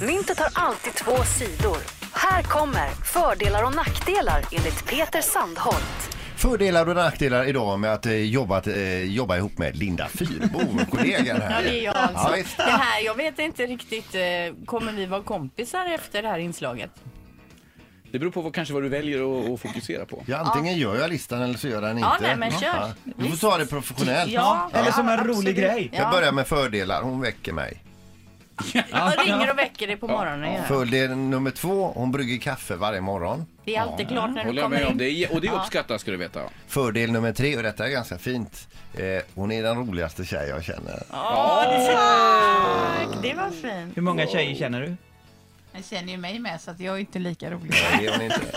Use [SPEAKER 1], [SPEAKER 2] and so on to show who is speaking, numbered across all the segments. [SPEAKER 1] Myntet har alltid två sidor. Här kommer fördelar och nackdelar enligt Peter Sandholt.
[SPEAKER 2] Fördelar och nackdelar idag med att eh, jobbat, eh, jobba ihop med Linda Fyrbo, kollegan här.
[SPEAKER 3] Ja, det är jag
[SPEAKER 2] Ja,
[SPEAKER 3] alltså.
[SPEAKER 2] visst.
[SPEAKER 3] det här, jag vet inte riktigt, eh, kommer vi vara kompisar efter det här inslaget?
[SPEAKER 4] Det beror på vad, kanske vad du väljer att, att fokusera på.
[SPEAKER 2] Ja, antingen gör jag listan eller så gör jag den
[SPEAKER 3] Ja,
[SPEAKER 2] inte.
[SPEAKER 3] nej, men kör.
[SPEAKER 2] Ja. Du får ta det professionellt.
[SPEAKER 3] Ja,
[SPEAKER 5] Eller som en
[SPEAKER 3] ja,
[SPEAKER 5] rolig
[SPEAKER 3] absolut.
[SPEAKER 5] grej.
[SPEAKER 3] Ja.
[SPEAKER 2] Jag börjar med fördelar, hon väcker mig.
[SPEAKER 3] Jag ringer och väcker dig på morgonen. Ja.
[SPEAKER 2] Fördel nummer två, hon brygger kaffe varje morgon.
[SPEAKER 3] Det är alltid klart när du
[SPEAKER 4] Håller jag
[SPEAKER 3] kommer
[SPEAKER 4] med om.
[SPEAKER 3] in.
[SPEAKER 4] Det är, och det uppskattas ska du veta.
[SPEAKER 2] Fördel nummer tre, och detta är ganska fint, eh, hon är den roligaste tjej jag känner.
[SPEAKER 3] Åh, det, är så... det var fint.
[SPEAKER 5] Hur många tjejer känner du?
[SPEAKER 6] Han känner ju mig med så att jag är inte lika rolig.
[SPEAKER 2] Nej, det är hon inte.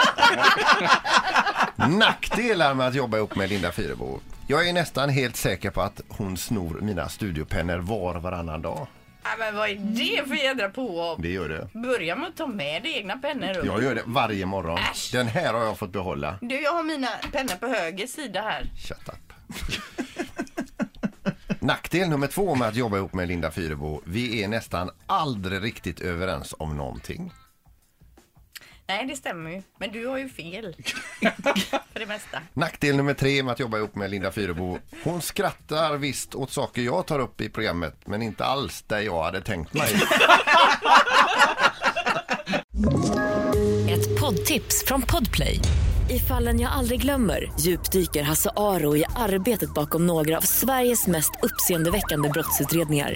[SPEAKER 2] Nackdelar med att jobba ihop med Linda Fyrebo. Jag är nästan helt säker på att hon snor mina studiopennor var och varannan dag.
[SPEAKER 3] Ja, men vad är det för jädra påhopp?
[SPEAKER 2] Det gör det.
[SPEAKER 3] Börja med att ta med dig egna pennor upp.
[SPEAKER 2] Jag gör det varje morgon.
[SPEAKER 3] Äsch.
[SPEAKER 2] Den här har jag fått behålla.
[SPEAKER 3] Du, jag har mina pennor på höger sida här.
[SPEAKER 2] Shut up. Nackdel nummer två med att jobba ihop med Linda Fyrebo. Vi är nästan aldrig riktigt överens om någonting.
[SPEAKER 3] Nej, det stämmer ju. Men du har ju fel. för det mesta.
[SPEAKER 2] Nackdel nummer tre med att jobba ihop med Linda Fyrebo. Hon skrattar visst åt saker jag tar upp i programmet men inte alls där jag hade tänkt mig.
[SPEAKER 7] Ett poddtips från Podplay. I fallen jag aldrig glömmer djupdyker Hasse Aro i arbetet bakom några av Sveriges mest uppseendeväckande brottsutredningar.